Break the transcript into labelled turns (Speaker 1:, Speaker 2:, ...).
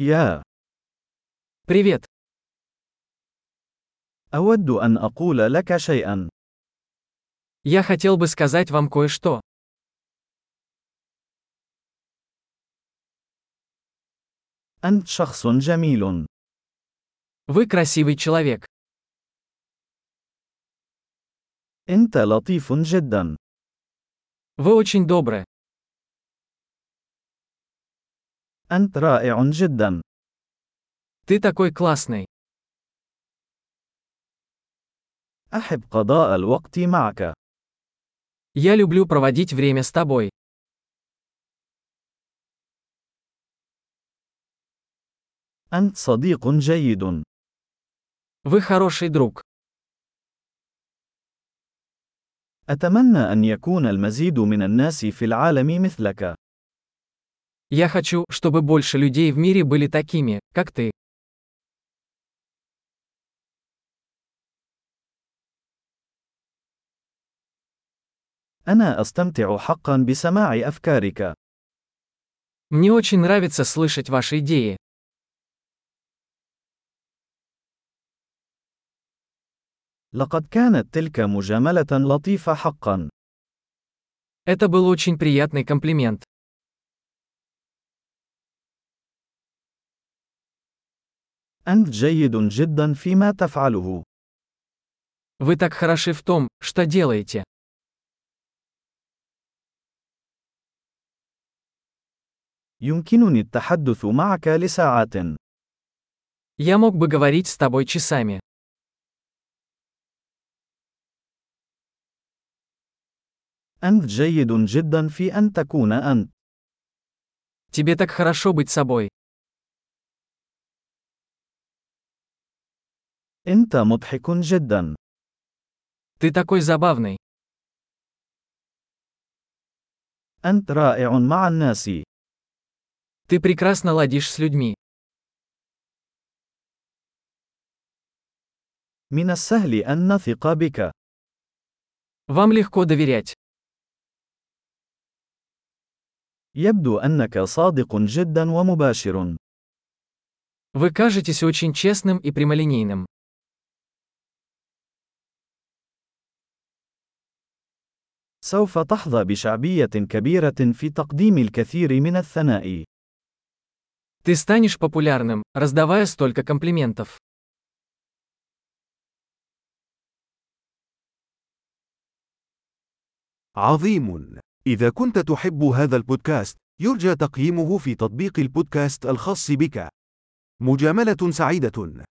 Speaker 1: يا.
Speaker 2: Привет.
Speaker 1: أود أن أقول لك شيئا.
Speaker 2: Я хотел бы сказать вам кое-что.
Speaker 1: أنت شخص جميل.
Speaker 2: Вы красивый человек.
Speaker 1: أنت لطيف جدا.
Speaker 2: Вы очень добры.
Speaker 1: أنت رائع جدا.
Speaker 2: Ты такой классный.
Speaker 1: أحب قضاء الوقت معك.
Speaker 2: Я люблю проводить время с тобой.
Speaker 1: أنت صديق جيد.
Speaker 2: Вы хороший друг.
Speaker 1: أتمنى أن يكون المزيد من الناس في العالم مثلك.
Speaker 2: Я хочу, чтобы больше людей в мире были такими, как ты.
Speaker 1: أنا أستمتع حقا بسماع أفكارك.
Speaker 2: Мне очень нравится слышать ваши идеи.
Speaker 1: لقد كانت تلك مجاملة لطيفة حقا.
Speaker 2: Это был очень приятный комплимент.
Speaker 1: أنت جيد جدا فيما تفعله.
Speaker 2: Вы так хороши в том, что делаете.
Speaker 1: يمكنني التحدث معك لساعات.
Speaker 2: Я мог бы говорить с тобой часами.
Speaker 1: أنت جيد جدا في أن تكون أنت.
Speaker 2: Тебе так хорошо быть собой.
Speaker 1: أنت مضحك جدا.
Speaker 2: Ты такой забавный.
Speaker 1: أنت رائع مع الناس.
Speaker 2: Ты прекрасно ладишь с людьми.
Speaker 1: من السهل أن نثق بك.
Speaker 2: Вам легко доверять.
Speaker 1: يبدو أنك صادق جدا ومباشر.
Speaker 2: Вы кажетесь очень честным и прямолинейным.
Speaker 1: سوف تحظى بشعبية كبيرة في تقديم الكثير من الثناء.
Speaker 2: Ты станешь популярным, раздавая столько комплиментов.
Speaker 3: عظيم إذا كنت تحب هذا البودكاست يرجى تقييمه في تطبيق البودكاست الخاص بك مجاملة سعيدة